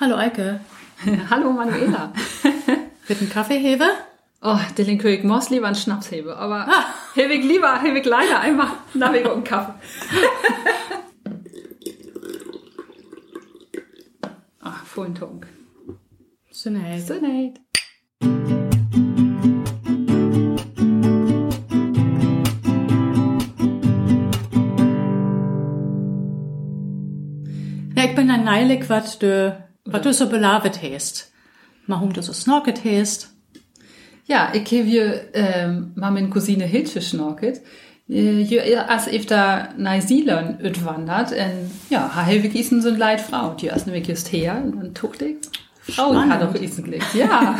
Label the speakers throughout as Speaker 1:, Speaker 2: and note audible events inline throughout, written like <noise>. Speaker 1: Hallo Eike.
Speaker 2: <laughs> Hallo Manuela.
Speaker 1: Mit einem Kaffeehebe?
Speaker 2: Oh, den König Moss lieber einen Schnapshebe, aber ah. Hebig lieber, Hebig leider, einmal Navigo und <laughs> Kaffee. Ach, vollen Ah, Tunk.
Speaker 1: Sinead.
Speaker 2: Sinead.
Speaker 1: Ja, ik ben een neilig wat de, wat du so belavet hast. Maar hoe du so snorket hast.
Speaker 2: Ja, ich habe hier ähm, meine Cousine Hilfe schnorkelt. Äh, Hier als ich da nach Silon wandert, und ja, Hilfe gießen sind leid Frau. Die ist nämlich just her und tucht ich. Frau Oh, hat auch diesen Glück, ja.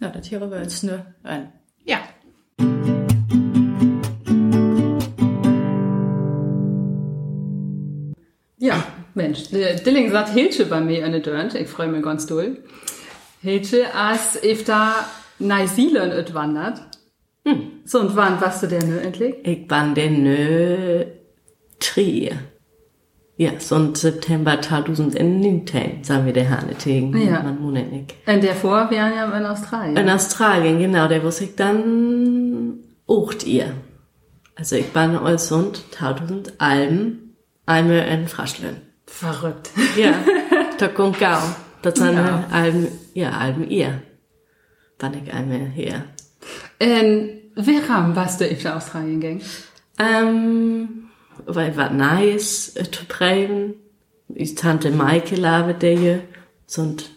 Speaker 1: ja, das hier war jetzt ne, ein.
Speaker 2: Ja. Ja, Mensch, der Dilling sagt Hilsche bei mir eine Dörnt. Ich freue mich ganz doll. Hilsche, als ich da nach Silon wandert. Hm. So, und wann warst du denn ne, endlich?
Speaker 3: Ich bin denn nö tri. Ja, so ein September 2019, sagen wir der Hane tegen.
Speaker 2: Ja.
Speaker 3: Man Monat nicht.
Speaker 2: Und der vor wären ja in Australien.
Speaker 3: In Australien, genau, der wusste ich dann ocht ihr. Also ich bin also und 1000 Alben, einmal in Fraschlön.
Speaker 2: Verrückt. <laughs>
Speaker 3: Ja, da kommt gau. Das sind
Speaker 2: Ja.
Speaker 3: Alben, ja, Alben ihr. Wann ich einmal hier.
Speaker 2: Und warum warst du in Australien gegangen?
Speaker 3: Ähm, weil war nice äh, zu prägen. Ich Tante Maike labe der hier, und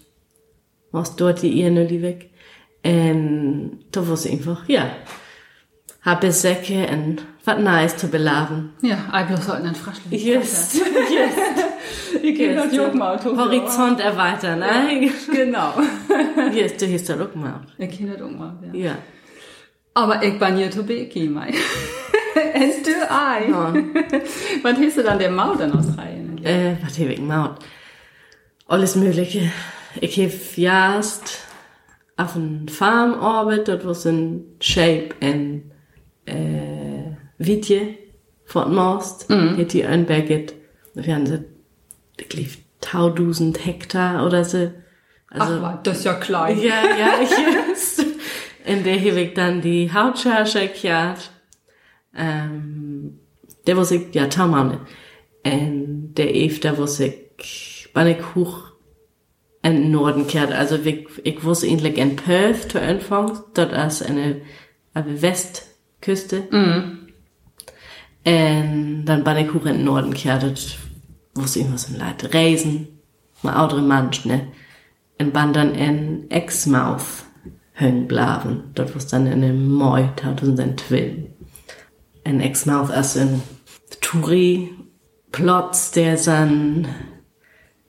Speaker 3: was dort die ihr nur weg. Und da war einfach, ja. Habe Säcke und was nice zu belaben.
Speaker 2: Ja, ich bloß heute in Fraschlön. <laughs>
Speaker 3: Yes, <laughs> yes.
Speaker 2: Ich gehe
Speaker 3: yes.
Speaker 2: dort Joggen Auto.
Speaker 3: Horizont erweitern, ne? <laughs>
Speaker 2: Genau.
Speaker 3: Yes, du hast da auch mal.
Speaker 2: Ich gehe dort Joggen ja.
Speaker 3: Ja.
Speaker 2: Aber ich bin hier Tobeki, mein. <laughs> And do I.
Speaker 3: Ja.
Speaker 2: <laughs> Was hieß du dann der Maut in Australien?
Speaker 3: Äh, was heb ik gemacht? Alles Mögliche. Ich heb jaast auf een Farm arbeitet, dort was in Shape en äh, Wietje von Most, mhm. hätte die ein Baguette. Wir haben so, ich lief 1000 Hektar oder so. Also
Speaker 2: Ach, was, das ist ja klein.
Speaker 3: Ja, ja, yes. In der heb ich dann die Hautscharge gekehrt. Ähm, der was ich, ja, Taumane. Und der Eve, der was ich, wann ich hoch in den Norden kehrt. Also ich, ich wusste eigentlich in Perth zu Anfang, dort ist eine, eine Westküste. Und Ähm, dann bin ich hoch in den Norden kehrt, und wusste ich was im Leid. Reisen, mal andere Mensch, ne? Und bin dann in Exmouth hängen bleiben. Dort was dann in dem Mai 2012. In Exmouth ist in Touri, Plots, der sind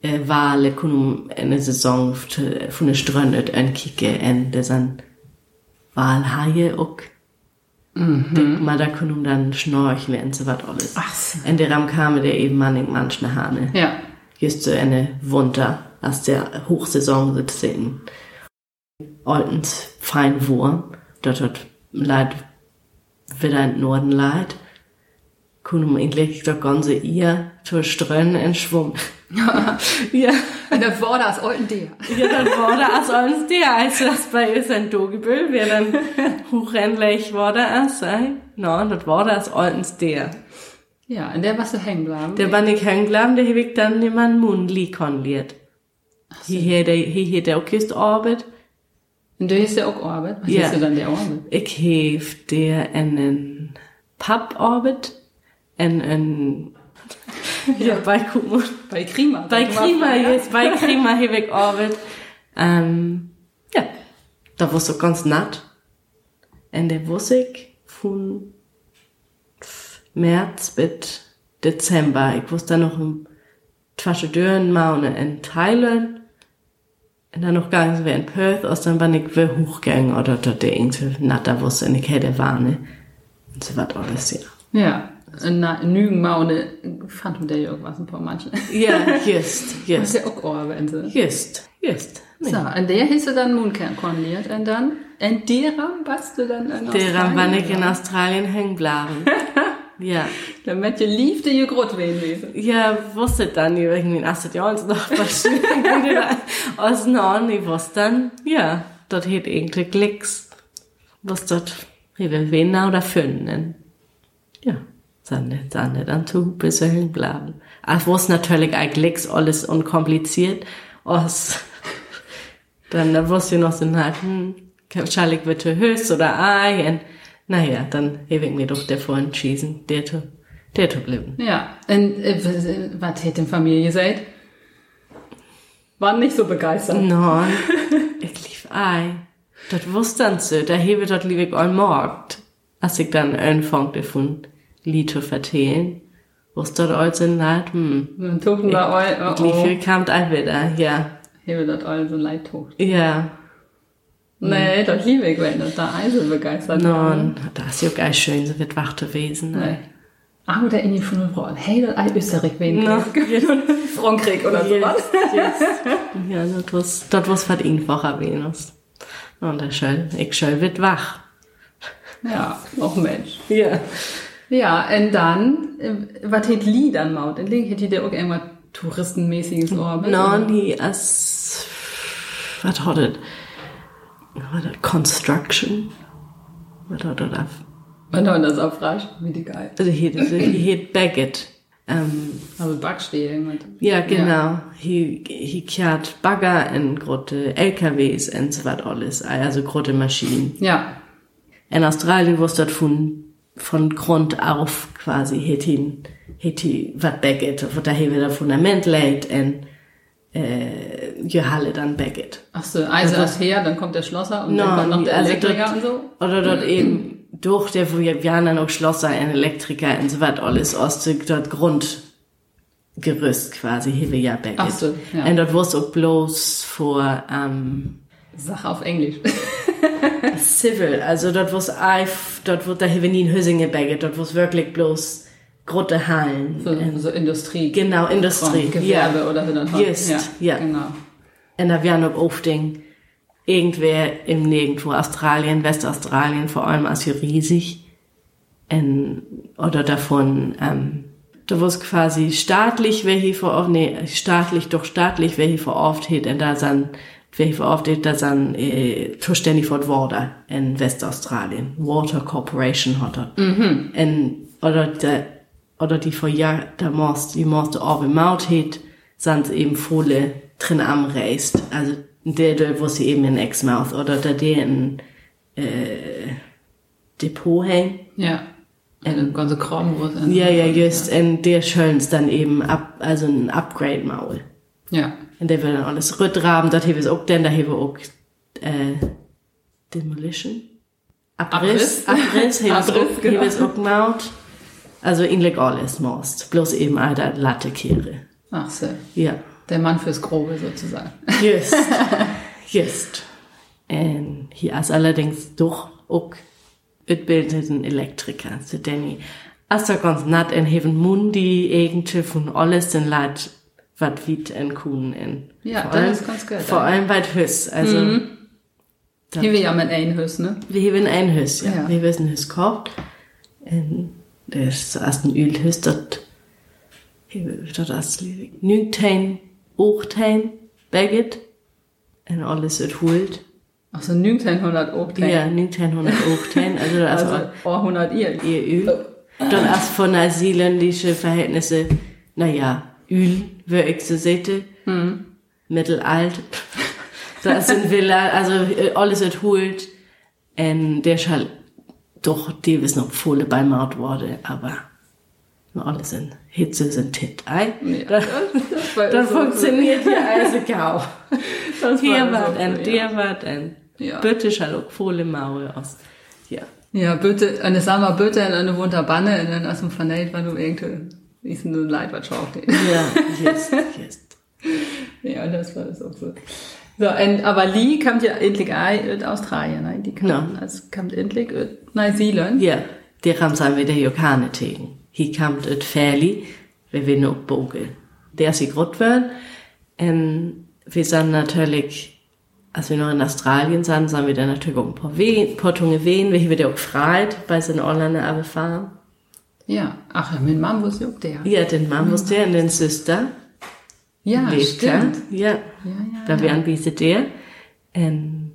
Speaker 3: äh, Wale kun um eine Saison f- von der Ströndet ankicke und der sind Walhaie auch. Mhm. Mal da können dann schnorcheln und so was alles.
Speaker 2: Ach so.
Speaker 3: Und der Ram kam der eben manchmal manchen Hane.
Speaker 2: Ja.
Speaker 3: Hier ist so eine Wunder aus der Hochsaison sozusagen. Oltens Feinwurm, dort hat Leid wieder in den Norden Leid. Kunum eigentlich der ganze ihr zur Strönen in Schwung. ja,
Speaker 2: Und das war das alten Deer.
Speaker 3: ja, dann wurde es uns der, als das bei uns ein Dogebüll, wir dann <laughs> hochrennlich wurde es, ey. No, das wurde es uns der.
Speaker 2: Ja, in der warst du hängen bleiben.
Speaker 3: Der war nicht hängen geblieben, der habe ich dann in meinen Mund liegen liert. Hier hat er, hier hat er auch erst Arbeit.
Speaker 2: Und du hieß ja auch Orbit. Was
Speaker 3: Ja.
Speaker 2: hieß du dann der Orbit?
Speaker 3: Ich habe der einen Papparbeit und einen, ja, bei Kuhmund.
Speaker 2: Bei Krima.
Speaker 3: Bei
Speaker 2: Sag mal,
Speaker 3: Klima, jetzt bei Klima habe ich Arbeit. Ähm, ja, da war so ganz nett. Und der wusste ich von März bis Dezember. Ich wusste dann noch im Twaschedören mal in Thailand. Und dann noch gegangen sind wir in Perth, aus dann bin ich wieder hochgegangen oder dort der irgendwie nett, da wusste ich, hey, der war, ne? Und so war alles, ja.
Speaker 2: Ja. Und na, Nügen mal ohne Phantom der irgendwas ein paar manche.
Speaker 3: Ja, just,
Speaker 2: Das
Speaker 3: just,
Speaker 2: ist ja auch Orbit. So,
Speaker 3: just, just. Nee.
Speaker 2: und der hieß du dann Moonkern korniert. Und dann, und der Ram warst du dann in
Speaker 3: Der
Speaker 2: Australien?
Speaker 3: Rambanik in Australien hängen bleiben. Ja.
Speaker 2: Der Metje liebte ihr Grotweinwesen.
Speaker 3: Ja, wusste dann irgendwie in 18 Jahren so noch was wieder aus Norden. Ich wusste dann, ja, dort hätte irgendwie Klicks. Was dort, ich will Wiener oder Föhnen. Ja, dann nicht, dann nicht an zu besöhlen bleiben. Ach, was natürlich auch Klicks alles unkompliziert aus. Dann, dann wusste ich noch so, na, hm, wahrscheinlich wird er höchst oder ein. Naja, dann habe ich mir doch davor entschieden, der zu, der zu bleiben.
Speaker 2: Ja, und äh, was- äh, was hätte in Familie seid? Waren nicht so begeistert.
Speaker 3: Nein, <laughs> ich lief ein. Das wusste dann so, da hebe dort lieb ich all morgt. Als ich dann anfangte von Lied zu vertellen, wusste dort all so leid, hm.
Speaker 2: Ein Toten war all,
Speaker 3: Ich
Speaker 2: oh, oh.
Speaker 3: lief, kam ein wieder, ja.
Speaker 2: Hier wird das all so leid tot.
Speaker 3: Ja,
Speaker 2: Nee, das liebe ich, wenn das da all so begeistert
Speaker 3: nein, das ist ja geil schön, so wird wach gewesen.
Speaker 2: Nee.
Speaker 3: Ne?
Speaker 2: Ah, oder in die von Frauen. Hey, das all Österreich wen
Speaker 3: Na,
Speaker 2: Frankreich oder sowas.
Speaker 3: Ja, das was, das was was irgendwo erwähnt ist. Und der Schall, ich schall wird wach.
Speaker 2: Ja, auch Mensch.
Speaker 3: Ja.
Speaker 2: Ja, und dann, äh, was hätte Lee dann maut? Und Link hätte der auch irgendwas touristenmäßiges Ohr.
Speaker 3: Non, he as was hat it? What a construction? Was hat it auf?
Speaker 2: Und dann das abfragt, wie die geil.
Speaker 3: Also he he he Baggett. Ähm,
Speaker 2: Also Backstehe irgendwas.
Speaker 3: ja, genau. He he kehrt Bagger in grote LKWs und so was alles, also grote Maschinen.
Speaker 2: Ja,
Speaker 3: In Australien wusste das von, von Grund auf quasi hätte hätte was Baggett, wo da hier wieder Fundament legt und äh, je Halle dann Baggett.
Speaker 2: Ach so, also erst her, dann kommt der Schlosser und dann kommt noch der Elektriker
Speaker 3: also dort,
Speaker 2: und so.
Speaker 3: Oder dort eben durch der Vujavianer noch Schlosser, ein Elektriker und so was alles aus dort Grundgerüst quasi, hier wir ja Baggett.
Speaker 2: Ach so, ja.
Speaker 3: Und dort wusste auch bloß vor, ähm,
Speaker 2: Sache auf Englisch. <laughs>
Speaker 3: Civil, also dort wo's Eif, dort wo der Hevenin Hösinge Bagget, dort wo's wirklich bloß grotte Hallen.
Speaker 2: So, so Industrie.
Speaker 3: Genau, Industrie.
Speaker 2: Von Gewerbe
Speaker 3: ja.
Speaker 2: oder so dann halt.
Speaker 3: Just, ja.
Speaker 2: Genau.
Speaker 3: Und da wären auch oft Ding, irgendwer im Nirgendwo, Australien, Westaustralien, vor allem als hier riesig. Und, Ähm, oder davon, ähm, da wo's quasi staatlich, wer hier vor oft, nee, staatlich, doch staatlich, wer hier vor oft hält, und da san, wer hier vor oft hält, da san, äh, zuständig für Water in Westaustralien. Water Corporation hat er. Mhm. Und, oder der, oder die vor Jahr, da most, die most auch im Maut hält, sind eben Fohle drin am Reist. Also, der, der, wo sie eben in Exmouth, oder der, der in, äh, Depot hängt.
Speaker 2: Ja. Eine ganze Kramwurst.
Speaker 3: Ja, ja, just. Und der schöns dann eben ab, also ein Upgrade-Maul.
Speaker 2: Ja.
Speaker 3: Und der will dann alles rüttraben. Dort hebe es auch denn, da hebe auch, äh, Demolition? Abriss?
Speaker 2: Abriss.
Speaker 3: <laughs> Abriss, hebe es
Speaker 2: Abriss,
Speaker 3: auch,
Speaker 2: genau.
Speaker 3: hebe es auch gemaut. Also, ähnlich alles most. Bloß eben all der Latte kehre.
Speaker 2: Ach so.
Speaker 3: Ja.
Speaker 2: Der Mann fürs Grobe sozusagen. <laughs>
Speaker 3: Just. Just. Und hier ist allerdings doch auch utbildeten Elektriker, so Danny. Als da ganz nat in Heaven Mundi, irgendwie von alles den Leid, wat wit en Kuhn in.
Speaker 2: Ja,
Speaker 3: Vor
Speaker 2: das
Speaker 3: allem-
Speaker 2: ist ganz geil,
Speaker 3: Vor
Speaker 2: ja.
Speaker 3: allem weit Hüss, also, Ja.
Speaker 2: Hier wir ja mit ein Hüss, ne?
Speaker 3: wir haben ein Hüss, ja.
Speaker 2: Ja.
Speaker 3: Wir wissen Hüss kocht. Und das erst ein Ölhüss, dort, dort erst Nügtein, Ochtein, Baggett, und alles wird holt.
Speaker 2: Ach so, 1900 Oktan.
Speaker 3: Ja, 1900 Octane, also <laughs> das
Speaker 2: Also,
Speaker 3: also,
Speaker 2: oh, 100
Speaker 3: <laughs>
Speaker 2: ihr.
Speaker 3: ihr Öl. Dann erst von neuseeländische Verhältnisse, naja, Öl, würde ich so sehen, mittelalt. Da sind Villa, also äh, alles wird holt. Und der Schall, doch, die wissen noch volle bei Maut wurde, aber alles in Hitze sind Tit. Ei.
Speaker 2: Ja.
Speaker 3: Dann, dann funktioniert ja also kaum.
Speaker 2: das.
Speaker 3: Hier
Speaker 2: war
Speaker 3: was,
Speaker 2: so,
Speaker 3: und
Speaker 2: ja.
Speaker 3: der was, und
Speaker 2: Ja.
Speaker 3: bitte Schall auch volle Maue aus. Ja.
Speaker 2: ja, bitte, eine Sama bitte in eine wunter Banne und dann aus dem Vernellt, weil du irgendwie, ich bin so leid, was schaut den.
Speaker 3: Ja, jetzt, jetzt.
Speaker 2: <laughs> Ja, das war das auch so. So, und, aber Lee kommt ja endlich auch aus Australien, ne? Die kommt,
Speaker 3: Ja.
Speaker 2: also kommt endlich aus Neuseeland.
Speaker 3: Ja, der haben sein wieder Jokane tegen. He kamt et Fäli, wir will nur Boge. Der sie grot werden. Und Ähm, wir sind natürlich, als wir noch in Australien sind, sind wir dann natürlich auch ein paar, Wehen, paar Tunge Wehen, wir haben wieder auch gefreut bei seinen Orlander Abefarm.
Speaker 2: Ja, ach, mein Mann wusste auch der.
Speaker 3: Ja, den Mann muss der und den Sister.
Speaker 2: Ja,
Speaker 3: leeft, hè?
Speaker 2: stimmt.
Speaker 3: Ja.
Speaker 2: ja,
Speaker 3: Da wir anbietet der. En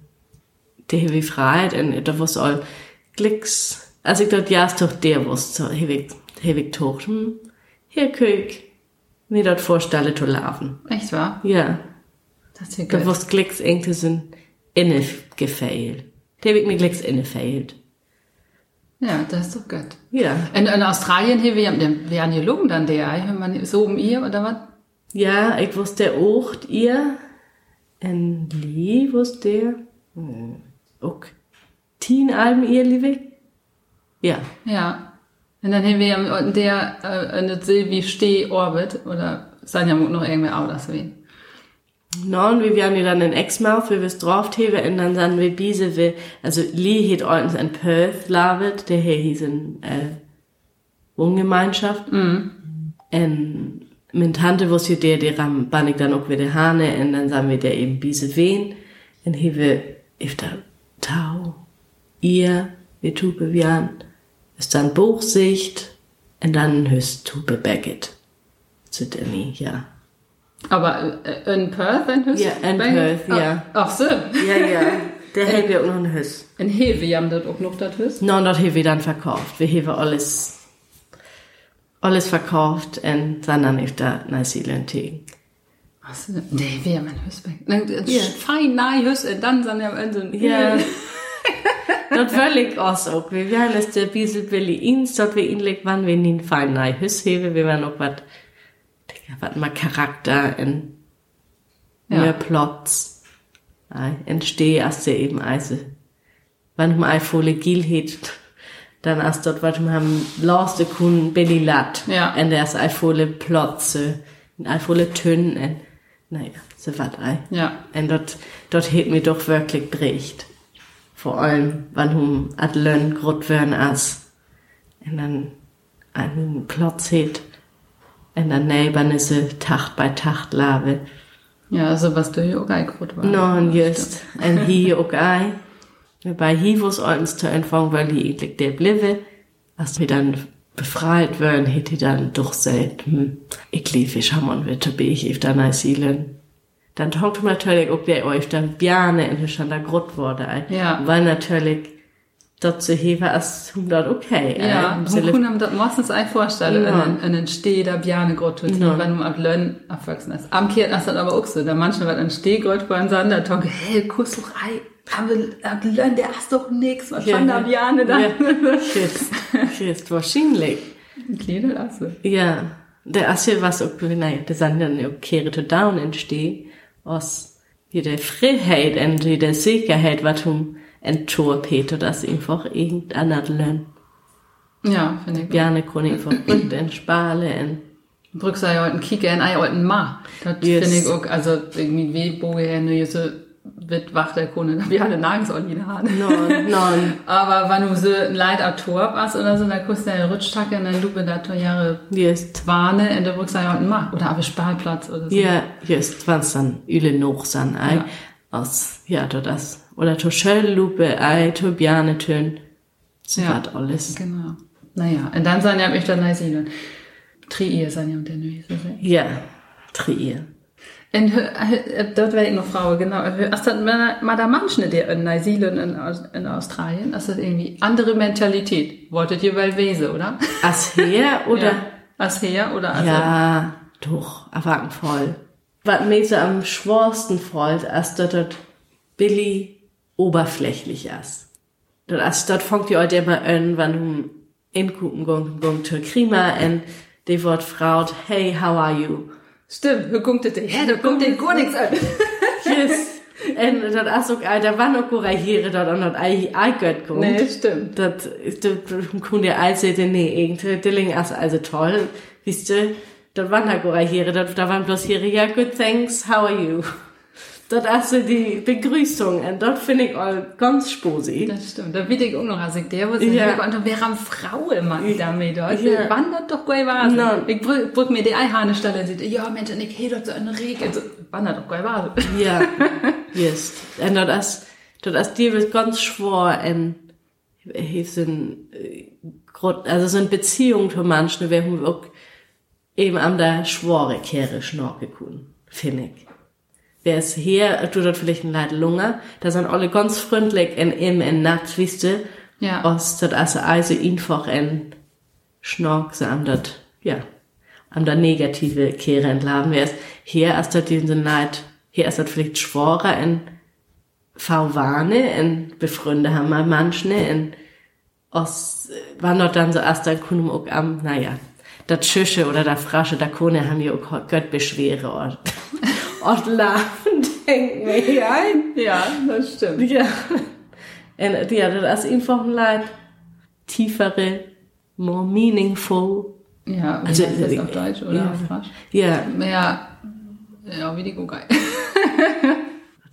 Speaker 3: det har vi frejet, en der was all Glicks. Also ich dachte, ja, ist doch der was, so, har vi, har vi tocht, hm, her köig, mir dort vorstelle zu laufen.
Speaker 2: Echt wahr?
Speaker 3: Ja,
Speaker 2: Das ist ja
Speaker 3: da
Speaker 2: gut.
Speaker 3: was Glicks irgendwie sind inne gefehlt. Der hab ich mir Glicks inne fehlt.
Speaker 2: Ja, das ist doch gut.
Speaker 3: Ja.
Speaker 2: In, in Australien hier, wir haben den Veanologen dann der, wenn man so um ihr oder was?
Speaker 3: Ja, ich wusste der auch, ihr. En Lee wusste der. Hm. Auch. Teen Alben ihr, liebe Ja.
Speaker 2: Ja. Und dann haben wir am- der äh, eine Silvi Steh Orbit oder sein ja noch irgendwie auch das wen.
Speaker 3: No, und wir haben die dann in Exmouth, wir wirst draufthebe, und dann sind wir Biese, wir, also Lee hat ordens in Perth, Lavet, der hier hieß in, äh, Wohngemeinschaft. Und meine Tante wusste der, der ram, bann ich dann auch wieder Hane, und dann sagen wir der eben Biese wen, und hier wir, if da, Tau, ihr, wir tupe wir an, ist dann Buchsicht, und dann höchst tupe Beckett. Zu Danny, ja.
Speaker 2: Aber äh, in Perth, in Hüst?
Speaker 3: Ja, in Perth, ja.
Speaker 2: Ah, Ach so.
Speaker 3: Ja, ja. Der hält ja auch noch einen Hüss.
Speaker 2: In Hewe haben das auch noch das Hüst.
Speaker 3: Ähm, No, und dort haben wir dann verkauft. Wir haben alles, alles verkauft und sind dann auf der Neuseeland Tee.
Speaker 2: Ach so. Nee, wir haben ein Hüst. Dann- dann
Speaker 3: Ja.
Speaker 2: Fein, nein, Hüst, und dann sind wir in so ein
Speaker 3: Ja. dort völlig aus auch. Wir haben es der Biesel Billy ins, dort wir ähnlich waren, wir ihn fein nein Hüss heben, wir waren auch was, Digga, was mal Charakter und
Speaker 2: Ja.
Speaker 3: mehr Plots. Ei, Entstehe erst der eben Eise. Wann um Eifole Gil het, dann erst dort, was wir haben, lauste Kuhn Billy Latt.
Speaker 2: Ja.
Speaker 3: Und erst Eifole Plotze, und Eifole Tönen, und naja, so wat ei.
Speaker 2: Ja.
Speaker 3: Und dort, dort hat mir doch wirklich bricht. Vor allem, wann hum at lön grot wern as. Und dann einen Plotz hat. Und dann Näbernisse Tacht bei Tacht lave.
Speaker 2: Ja, so was du hier auch eingebaut war.
Speaker 3: No, und just. Und hi ook ei. Bei hi wo's ordens zu empfangen, weil hi endlich der bliebe. Als wir dann befreit werden, hätte dann doch selten. Hm, ich lief, ich ham und witte, bin ich auf der Neuseeland. Dann tonkt man natürlich auch der euch dann Bjarne in der Grot wurde. ei.
Speaker 2: Ja.
Speaker 3: Weil natürlich dort zu heben, als hum dort okay. ei.
Speaker 2: Ja,
Speaker 3: Um
Speaker 2: und
Speaker 3: zu lif-
Speaker 2: Kuhn haben das meistens ein vorstellen,
Speaker 3: Ja.
Speaker 2: in einen Steh der Bjarnegrott, die
Speaker 3: Ja.
Speaker 2: man um ab Lönn abwachsen ist. Am Kehr ist das aber auch so, da manchmal wird ein Stehgrott bei uns an, da tonke, hey, kuss doch ein, aber ab Lönn, der hast doch nix, was
Speaker 3: Ja,
Speaker 2: kann der
Speaker 3: ja.
Speaker 2: Bjarne da? <laughs>
Speaker 3: Ja. Christ, Christ, wahrscheinlich.
Speaker 2: Kleine Lasse.
Speaker 3: Ja, der Asche was auch, naja, der sind dann auch Kehre to Down entstehen, aus jeder Freiheit und jeder Sicherheit, was um entor Peter, dass einfach irgendeiner lernt.
Speaker 2: Ja, finde ich. Ja.
Speaker 3: Gerne kann
Speaker 2: <clears throat>
Speaker 3: ich von Grund und Spale und,
Speaker 2: Brück sei heute ein Kicker, ein Ei, heute ein Ma. Das
Speaker 3: Yes.
Speaker 2: finde ich auch, also irgendwie Wehboge her, nur so wird wach der Kunde, da Bjarne nagens auch nie Hand.
Speaker 3: non, non,
Speaker 2: Aber wenn du so ein Leid ab Torb hast oder so, dann kriegst du eine Rutschtacke und dann lupe da Tor Jahre
Speaker 3: just,
Speaker 2: Warne in der Brückseite unten macht. Oder aber Sparplatz oder so.
Speaker 3: ja, just, wann's dann üle noch san, ei,
Speaker 2: Ja.
Speaker 3: aus, ja, to das, oder to Schelllupe, ei, to Bjarne tön, so
Speaker 2: Ja.
Speaker 3: wat alles.
Speaker 2: Genau. Naja, und dann sind ja mich dann Neuseeland. Trier sind ja mit der Neuseeland.
Speaker 3: Ja, trier.
Speaker 2: Und äh, äh, dort wäre ich noch Frau, genau. Ist das mal mal der Mensch nicht der in Neuseeland in, Aus- in Australien? Ist das irgendwie andere Mentalität? Wolltet ihr weil Wese, oder? <laughs>
Speaker 3: As her oder?
Speaker 2: Ja. Als her oder als
Speaker 3: Ja, doch, erwarten voll. Was mir so am schworsten freut, als dort dort Billy oberflächlich ist. Dort, als dort fangt ihr euch immer an, wann hum in guten Gong Gong zur Krima und die Wort fraut, hey, how are you?
Speaker 2: Stimmt, hier guckt der, ja, da guckt den gar nichts an.
Speaker 3: Yes. und dort ist auch, da waren auch Korahiere dort und dort ei, ei gött guckt.
Speaker 2: Nee, stimmt.
Speaker 3: Das ist der Kunde also, nee, irgendwie, Dilling ist also toll, wisst ihr, dort waren da gar hier, dort, da waren bloß hier, ja, good thanks, how are you? Dort hast du die Begrüßung, und dort finde ich all ganz sposig.
Speaker 2: Das stimmt, da will ich auch noch, als ich der was
Speaker 3: Ja.
Speaker 2: ja. und wir haben Frauen Mann damit, oder?
Speaker 3: Ja.
Speaker 2: Wandert doch gut was.
Speaker 3: Nein.
Speaker 2: Ich brück, brück mir die Eihahne stelle, sieht, ja Mensch, und ich hätte dort so eine Regel. So, wandert doch gut was.
Speaker 3: Ja, <laughs> yes. Und dort ähm, ist, dort ist die wird ganz schwor, und hilft so ein Grund, eh, also so eine Beziehung für manche wäre hun auch eben am der Schwore kehre schnorke kun, finde ich. Wer es hier, tut dort vielleicht ein Leid Lunge, da sind alle ganz freundlich in ihm in Nacht, wisst ihr,
Speaker 2: Ja.
Speaker 3: aus dat also also einfach ein Schnork, so am dat, ja, am der negative Kehre entladen wär's. Hier ist dat diesen Leid, hier ist dat vielleicht Schworer in Fauwane, in Befreunde haben wir manchne, in aus, waren dort dann so erst dann kunum auch am, naja, dat Schüsche oder dat Frasche, da Kone haben wir auch Göttbeschwere und, und Larven denken wir hier ein.
Speaker 2: Ja, das stimmt.
Speaker 3: Ja. <laughs> En ja, das ist einfach ein Leid. Tiefere, more meaningful.
Speaker 2: Ja, wie
Speaker 3: Also,
Speaker 2: also, heißt das
Speaker 3: äh,
Speaker 2: auf Deutsch oder
Speaker 3: ja.
Speaker 2: auf Fransch?
Speaker 3: Ja,
Speaker 2: Ja, ja, wie die Google.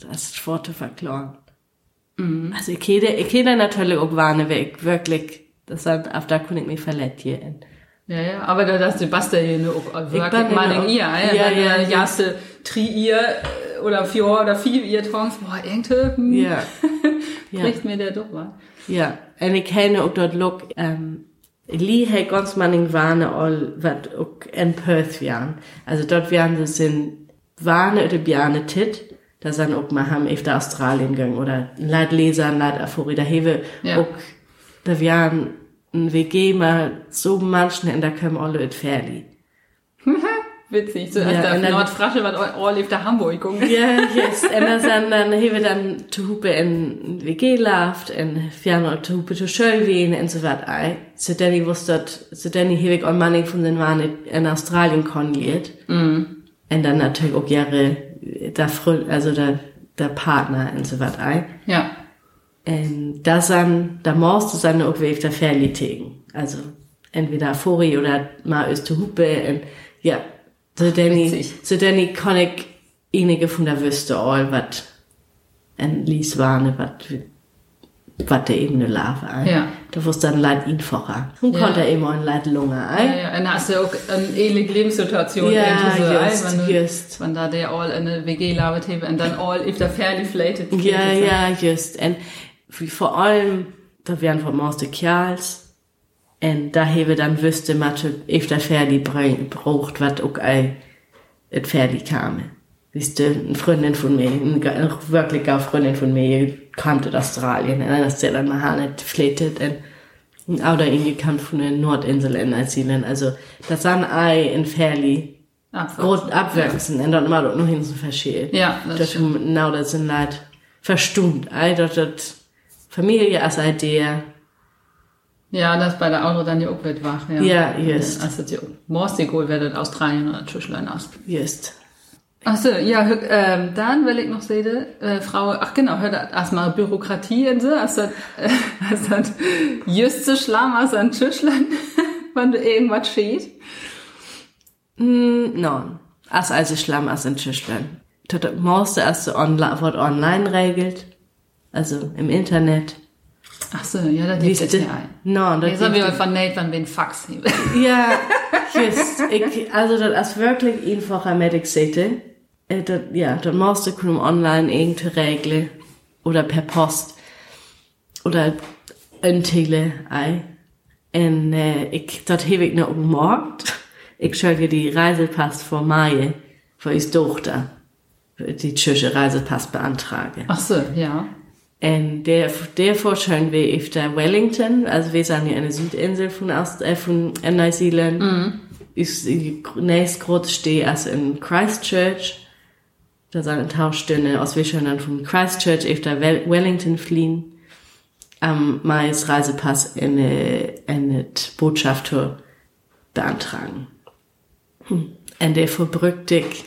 Speaker 3: das ist Worte verklauen. Also, ich kenne, ich kenne natürlich auch warne weg, wirklich. Das hat, auf da kann ich mich verletzt hier.
Speaker 2: Ja, ja, aber da das Sebastian hier nur auch
Speaker 3: bin
Speaker 2: wirklich mal
Speaker 3: ja
Speaker 2: in ihr,
Speaker 3: auch-
Speaker 2: ja,
Speaker 3: ja,
Speaker 2: ja,
Speaker 3: ja,
Speaker 2: ja,
Speaker 3: ja.
Speaker 2: jaste tri ihr äh, oder vier oder vier ihr Trance, boah, irgendwie hm,
Speaker 3: Ja. ja.
Speaker 2: bricht mir der doch mal.
Speaker 3: Ja, en ik henne ook dat lok, um, Lee hei ganz manning warne all, wat ook in Perth wären. Also dort wären sie sind warne oder biane tit, da sind auch mal haben efter Australien gegangen oder leid Leser, leid Afori, da hewe
Speaker 2: Ja.
Speaker 3: auch, da wären ein WG mal so manchen in der Köm alle et Ferli.
Speaker 2: Witzig, so
Speaker 3: Ja,
Speaker 2: als da
Speaker 3: und dann-
Speaker 2: Nordfrasche, was all lebt der Hamburg, um. gucken.
Speaker 3: Ja, yes. En dan zijn dan hebben we dan te hoepen in WG laaft en fjern te hoepen te schölween en zo wat ei. Zo Danny wist dat, zo Danny heb ik al manning van den Wane in Australien konliert. En dan natuurlijk ook jaren der Freund, also der, der Partner en zo wat ei.
Speaker 2: Ja,
Speaker 3: En Ähm, da san, da morst du seine auch wie der Ferli tegen. Also, entweder Fori oder mal ist zu Hupe, en, ja. So Danny,
Speaker 2: Witzig.
Speaker 3: so Danny kann ich einige von der Wüste all, wat, en Lies warne, wat, wat der eben ne Larve ein.
Speaker 2: Ja.
Speaker 3: Da wusste dann leid ihn voran. Und
Speaker 2: Ja.
Speaker 3: konnte er immer ein leid Lunge
Speaker 2: ja,
Speaker 3: ein.
Speaker 2: ja, und da hast du auch eine ähnliche Lebenssituation.
Speaker 3: Äh? Ja,
Speaker 2: irgendwie so,
Speaker 3: just,
Speaker 2: ey, wenn du,
Speaker 3: just.
Speaker 2: Wenn da der all in eine WG labert habe und dann all if der fairly flated.
Speaker 3: Ja, ja, just. En wie vor allem, da wären von Maus de Kerls. En da hebe dann wüsste Mathe, if der Ferdi braucht, wat ook ei, et Ferdi kame. Wisst ihr, eine Freundin von mir, eine wirklich gute Freundin von mir, kannte Australien, und das der dann mal hanet flätet, und ein Auder irgendwie kam von den Nordinseln in Neuseeland, also, das san ei in Ferdi,
Speaker 2: Absolut.
Speaker 3: Rot abwachsen, ändert immer dort noch hin zu verschieden.
Speaker 2: Ah, Ja, das
Speaker 3: das stimmt. Genau, das sind halt verstummt. All dort, dort Familie als Idee.
Speaker 2: Ja, das bei der Auto dann ja auch wird wach. Ja,
Speaker 3: Ja, just.
Speaker 2: Also, das ja auch Morstig wohl werdet Australien oder Tischlein hast.
Speaker 3: Just.
Speaker 2: Achso, ja, hö- ähm, dann, weil ich noch sehe, äh, Frau, ach genau, hört erstmal Bürokratie in so, hast das, äh, hast das jüste Schlamm aus an Tischlein, <laughs> wenn du irgendwas steht.
Speaker 3: Mm, non. As also Schlamm, as in Tischlein. Dort dort Maus, der erste online, wird online regelt. Also im Internet.
Speaker 2: Achso, ja, da liegt es
Speaker 3: Wisst ihr?
Speaker 2: ja ein.
Speaker 3: Non, dort
Speaker 2: Jetzt haben
Speaker 3: liegt-
Speaker 2: wir von Nate, wann wir einen
Speaker 3: <laughs>
Speaker 2: Fax haben.
Speaker 3: Ja, just. Ich, also das ist wirklich einfacher Medic City. Äh, Das, ja, das musst du können online irgendeine Regel oder per Post oder in Tele ei. Und äh, ich, das hebe ich noch umorgt. Ich schicke die Reisepass vor Mai, für ich Tochter die tschüsche Reisepass beantrage.
Speaker 2: Achso, ja.
Speaker 3: Und Ähm, der, der Vorschein wäre auf der Wellington, also wir sind ja eine Südinsel von, Aust äh, von äh, Neuseeland. Mhm. Ist nächstgrößt stehe also in Christchurch. Da sind ein Tauschstünde aus Wischern dann von Christchurch auf der Wel Wellington fliehen. Am Mais Reisepass in eine, in eine Botschaft beantragen. Hm. Und der verbrückt dich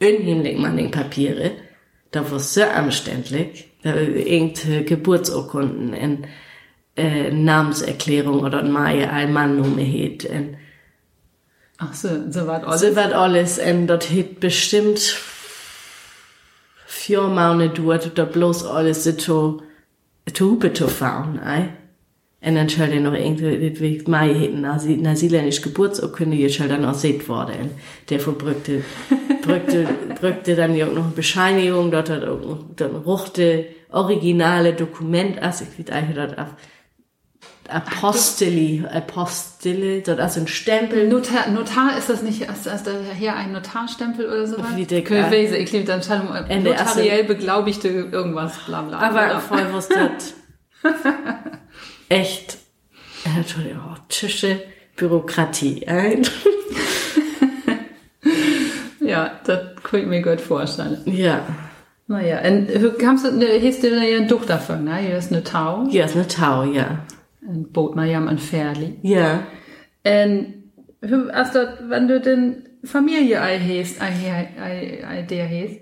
Speaker 3: unheimlich manchen Papiere. Da war es sehr anständlich. Da irgendeine Geburtsurkunden, in äh, Namenserklärung oder ein Mai, ein Mann um nur mehr hat. Und
Speaker 2: Achso, so war alles.
Speaker 3: so Also wird alles. Und dort hat bestimmt vier Monate dauert, da bloß alles so zu, zu Hupe zu fahren. Ei? Und dann soll dann noch irgendwie Mai hätten, neuseeländische Geburtsurkunde, die soll dann auch seht worden. Und der verbrückte, brückte, brückte dann ja auch noch eine Bescheinigung, dort hat auch noch- dann ruchte originale Dokument, also ich weiß eigentlich dort auf Aposteli, Apostille, dort also ein Stempel.
Speaker 2: Notar, Notar ist das nicht, ist das hier ein Notarstempel oder so was?
Speaker 3: Wie der-
Speaker 2: Köwese, ich liebe dann Schallung,
Speaker 3: Ende erste-
Speaker 2: notariell beglaubigte irgendwas, bla genau. bla.
Speaker 3: Aber
Speaker 2: bla.
Speaker 3: voll was das <laughs> echt, äh, Entschuldigung, oh, Tische, Bürokratie. Ein.
Speaker 2: Ja, das kann ich mir gut vorstellen.
Speaker 3: Ja,
Speaker 2: Naja, und hier kamst du, ne, hast du da ja ein Duch davon, ne? Hier ist eine Tau,
Speaker 3: ja, ist eine Tau, ja.
Speaker 2: ein Boot, na ja, ein Pferdli.
Speaker 3: Ja,
Speaker 2: Und hier, als dat, wenn du den Familie ei hast, ei, ei, ei, ei der hast,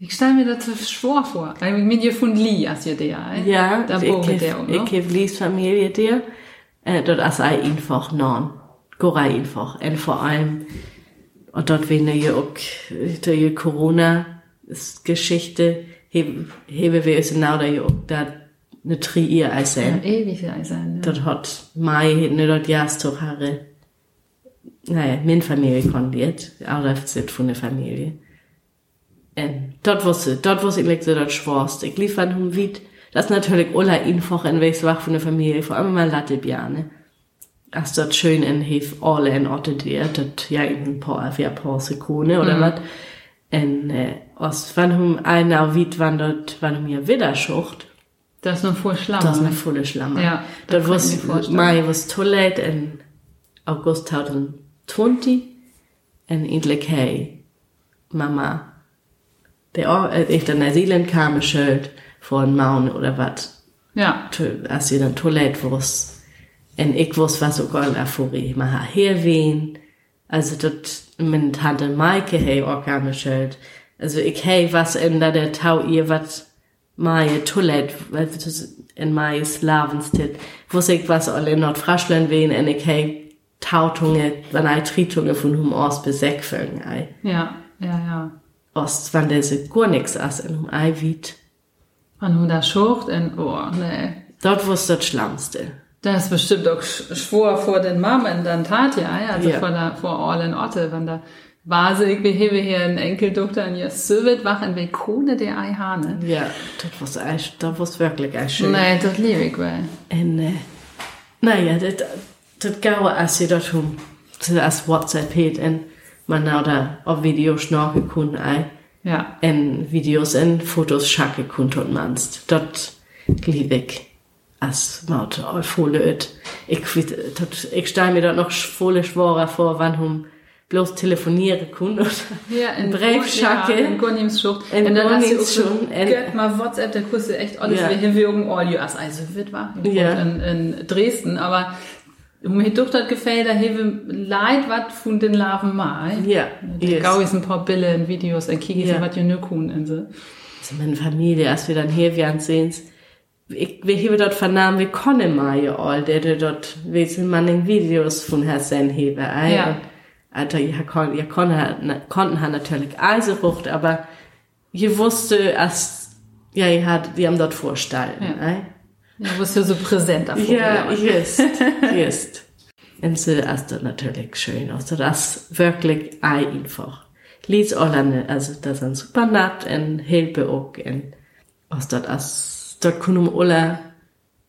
Speaker 2: ich stelle mir das so schwor vor. Ich meine, ihr von Lee, als ihr der, ei?
Speaker 3: ja.
Speaker 2: da
Speaker 3: ich
Speaker 2: bogen der um, ne?
Speaker 3: Ich gebe Lies Familie dir. Äh, dort ist ein einfach non. Gora einfach. Und vor allem, und dort wegen der ja auch, der Corona-Geschichte, hebe hebe wir es genau da ja auch, da eine Trier als sein.
Speaker 2: Ja, ewig ei sein, ne?
Speaker 3: Dort hat Mai ne dort Jahrestag Haare. Naja, min Familie kondiert, auch das sind von der Familie. Ähm, dort was dort was ich lekte dort schworst. Ich lief an hum wit, das natürlich Ulla einfach in welches wach von der Familie, vor allem mal Latte Biane. Ach, dort schön in Hef alle in Orte der, dort ja in ein paar, ja paar Sekunden oder wat. En, äh, aus wann hum einer wit, wann dort, wann hum ja wieder schucht.
Speaker 2: Das ist noch voll schlamm.
Speaker 3: Das ist
Speaker 2: ne?
Speaker 3: eine volle Schlammer.
Speaker 2: Ja, das
Speaker 3: das
Speaker 2: kann
Speaker 3: was
Speaker 2: ich mir vorstellen.
Speaker 3: Mai was too late in August 2020 and endlich hey Mama der Or äh, ich dann Neuseeland kam ein Schild von Maun oder was
Speaker 2: Ja,
Speaker 3: to- als sie dann too late wusst und ich wusste was sogar in Afurie Maha hier wen also dort meine Tante Maike hey auch kam ein Schild also ich hey was in da der Tau ihr was Mai Toilette, weil das ist in Mai Slavenstedt, wusste ich was alle in Nordfraschland wehen, in ich hey, Tautunge, wenn ei Tritunge von hum Ost bis Säckfölgen ei.
Speaker 2: ja, ja, ja.
Speaker 3: Ost, wann der se gar nix ass in hum ei wied.
Speaker 2: Man nur da schucht und, oh, nee.
Speaker 3: Dort wusst das Schlammste.
Speaker 2: Das ist bestimmt auch sch- schwor vor den Mammen, dann tat ja, ja, also
Speaker 3: Ja.
Speaker 2: vor der, vor Orlen Otte, wenn da Vase, ich behebe hier ein Enkeltochter und ihr Sövet wach in Kone der Eihane.
Speaker 3: Ja, dort wusst ei, dort wusst wirklich ei schön.
Speaker 2: Nee, das liebe ich wel.
Speaker 3: En äh, naja, das, das gaue as sie dort hum, as WhatsApp het, en man na da auf Video schnorke kun ei.
Speaker 2: Ja,
Speaker 3: en Videos en Fotos schacke kunt und manst. Dort liebe ich as maut Folet. Ich, wit- dort- ich stelle mir dort noch volle Schworer vor, wann hum bloß telefoniere <laughs> kun oder
Speaker 2: hier in
Speaker 3: Brechschacke.
Speaker 2: Ja, in Gunnims Schucht.
Speaker 3: In
Speaker 2: und dann hast du auch
Speaker 3: Gunnims
Speaker 2: so,
Speaker 3: Schucht, in-
Speaker 2: gött mal WhatsApp, der Kusse echt alles
Speaker 3: Ja.
Speaker 2: ja. Hinwirkung all you as, also wird wach in,
Speaker 3: Ja.
Speaker 2: in, in Dresden, aber mir doch das gefällt, da hebe leid, wat von den Larven mal.
Speaker 3: ja,
Speaker 2: Die
Speaker 3: yes.
Speaker 2: Gau ist ein paar Bilder in Videos, ein Kiki
Speaker 3: Ja.
Speaker 2: ist was Jönökun in so.
Speaker 3: Also meine Familie, als wir dann hier wären, sehens, ich, wir haben dort vernahmen, wir können mal ja all, der der dort, wir sind man den Videos von Herrn Sen hebe, ei.
Speaker 2: Ja.
Speaker 3: Und, Alter, ja, kon, ja, kon, na, konnten han natürlich Eiserucht, aber ihr wusste, als, ja, ihr hat, wir haben dort Vorstellen,
Speaker 2: Ja.
Speaker 3: ei.
Speaker 2: Du bist ja so präsent davor.
Speaker 3: Ja,
Speaker 2: ja.
Speaker 3: jetzt, jetzt. Und so ist das natürlich schön. Also das ist wirklich ei einfach. Lies Orlande, also das ist ein super Nacht und Hilfe auch. Und aus dort ist, dort können wir um alle,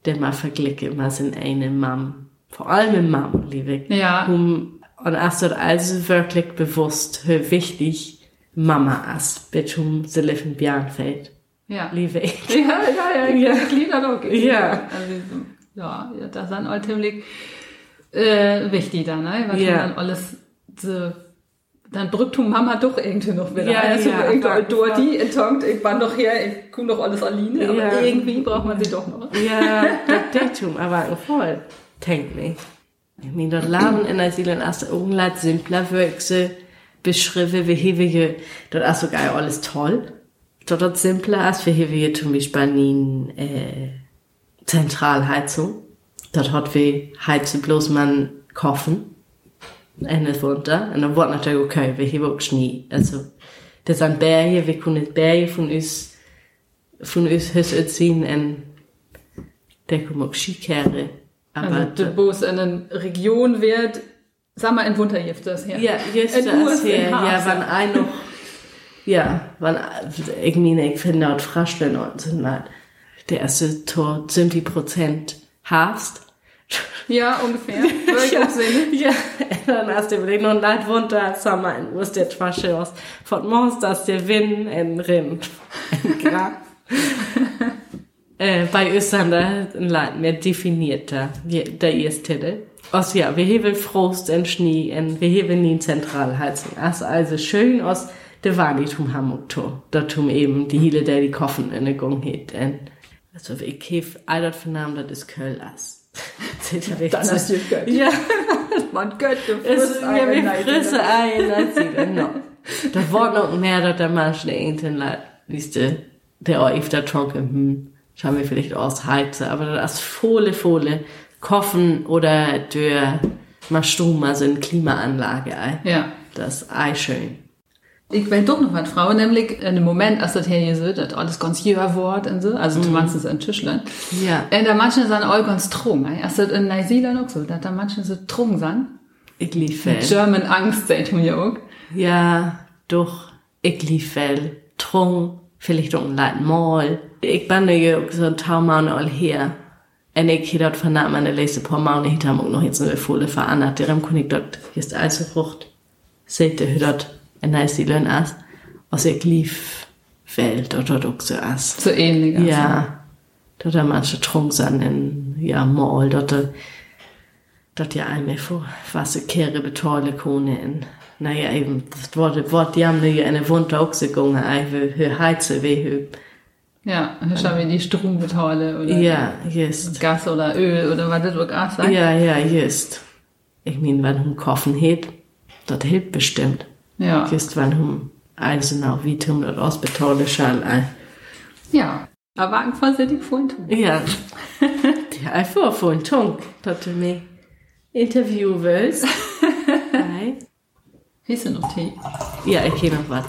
Speaker 3: der mal verglichen, was in eine Mam, vor allem in Mam, liebe ich.
Speaker 2: Ja.
Speaker 3: Um, und ist dort also wirklich bewusst, wie wichtig Mama ist, bis um sie leben in Björnfeld,
Speaker 2: Ja, ja,
Speaker 3: liebe ich.
Speaker 2: ja, ja, ja. ich liebe das auch.
Speaker 3: Ja.
Speaker 2: Also, ja, ja, das ist dann auch ziemlich äh, wichtig dann, ne? Weil
Speaker 3: Ja.
Speaker 2: dann alles so, dann brückt du Mama doch irgendwie noch wieder.
Speaker 3: Ja,
Speaker 2: also,
Speaker 3: ja,
Speaker 2: Irgendwie
Speaker 3: aber-
Speaker 2: durch die, entonkt, ich war noch her, ich komme doch alles alleine, aber
Speaker 3: Ja.
Speaker 2: irgendwie braucht man sie doch noch.
Speaker 3: Ja, das Datum, aber voll. Tänk mich. Ich mein, dort laben in der Seelen erst irgendwas simpler Wörkse, beschrieben, wie hewige, dort ist sogar alles toll. Dort dort simpler ist, wie hewige zum Beispiel nie, äh, Zentralheizung. Dort hat wir heizen bloß man kochen. Ende runter. Und dann wurde natürlich, okay, wir heben auch Schnee. Also, das sind Berge, wir können Berge von uns, von uns hüs ziehen und der kommt auch Skikehre. Aber,
Speaker 2: Also, du bist in einer Region wird, sag mal, in Wundergift das her.
Speaker 3: Ja, just
Speaker 2: In
Speaker 3: das
Speaker 2: USA.
Speaker 3: hier. Ja, wann ein noch. Ja, wann, ich meine, ich finde dort Fraschlen und sind mal der erste Tor 70 Prozent Harvest.
Speaker 2: Ja,
Speaker 3: <laughs>
Speaker 2: ungefähr. Würde ich auch sehen.
Speaker 3: Ja, dann hast du überlegt, und leid runter, Sommer, in Urs der Trasche aus von Monsters, der Wind,
Speaker 2: <laughs>
Speaker 3: in Rind, in Grab. äh, bei Österreich ein Land mehr definierter, wie- der erste Titel. Aus ja, wir haben Frost und Schnee, und wir haben nie Zentralheizung. Das ist also schön aus der Wanitum Hamburg to. Da tun eben die Hiele, der die Koffen in der Gung hat. Und also, ich hef, all das vernahm, das ist Köln <laughs> as.
Speaker 2: Dann hast du gehört.
Speaker 3: Also Ja.
Speaker 2: <laughs> Man könnte
Speaker 3: Es ist
Speaker 2: frisst ne?
Speaker 3: ja wie
Speaker 2: einen Neid,
Speaker 3: Frisse
Speaker 2: oder?
Speaker 3: ein, das sieht man noch. Da war noch mehr, dass der Mensch der Enten leid, wisst ihr, der auch öfter trocken, hm, schauen wir vielleicht aus Heize, aber das Fohle, Fohle, Koffen oder der Maschum, also in Klimaanlage, ei.
Speaker 2: Ja.
Speaker 3: das Ei schön.
Speaker 2: Ich will doch noch was fragen, nämlich in dem Moment, als das hier hier so, das alles ganz jünger Wort und so,
Speaker 3: Mhm.
Speaker 2: also zumindest in Tischland.
Speaker 3: Ja.
Speaker 2: Und da manche sind auch ganz trunk. ey. Als das in Neuseeland auch so, dass da manche so trunk sind.
Speaker 3: Ich liebe
Speaker 2: German Angst, sagt man ja auch.
Speaker 3: Ja, doch, ich liefel, trung, vielleicht auch ein Leid mal. Ich bin ja auch so ein Taumann all her. Und ich habe dort vernahmt, meine letzte paar Maune hinterm auch noch jetzt eine Fohle verandert. Darum kann ich dort, hier ist also Frucht. Seht ihr, dort, ein nice Lön as. Also ich lief, Welt, dort dort auch so as.
Speaker 2: So ähnlich. also.
Speaker 3: Ja, dort haben manche Trunk sind in, ja, mal, dort, dort ja einmal vor, was so Kehre betolle Kone in. Naja, eben, das Wort, Wort, die haben ja eine Wunde auch so gegangen, ei, wie, wie heize, wie, wie,
Speaker 2: Ja, und dann schauen wir die Strumbetaule oder
Speaker 3: ja, just.
Speaker 2: Gas oder Öl oder was das auch sagt.
Speaker 3: Ja, ja, just. Ich mein, wenn hum Koffen hebt, dort hilft bestimmt.
Speaker 2: Ja.
Speaker 3: Just, wenn hum einzelner wie tum dort ausbetolle Schall ein.
Speaker 2: ja. Aber ein vorsichtig vorhin tun.
Speaker 3: Ja. Der einfach vor den Tunk, dass du mich interviewen willst. Nein.
Speaker 2: Hieß ja noch Tee.
Speaker 3: Ja, ich gehe noch was.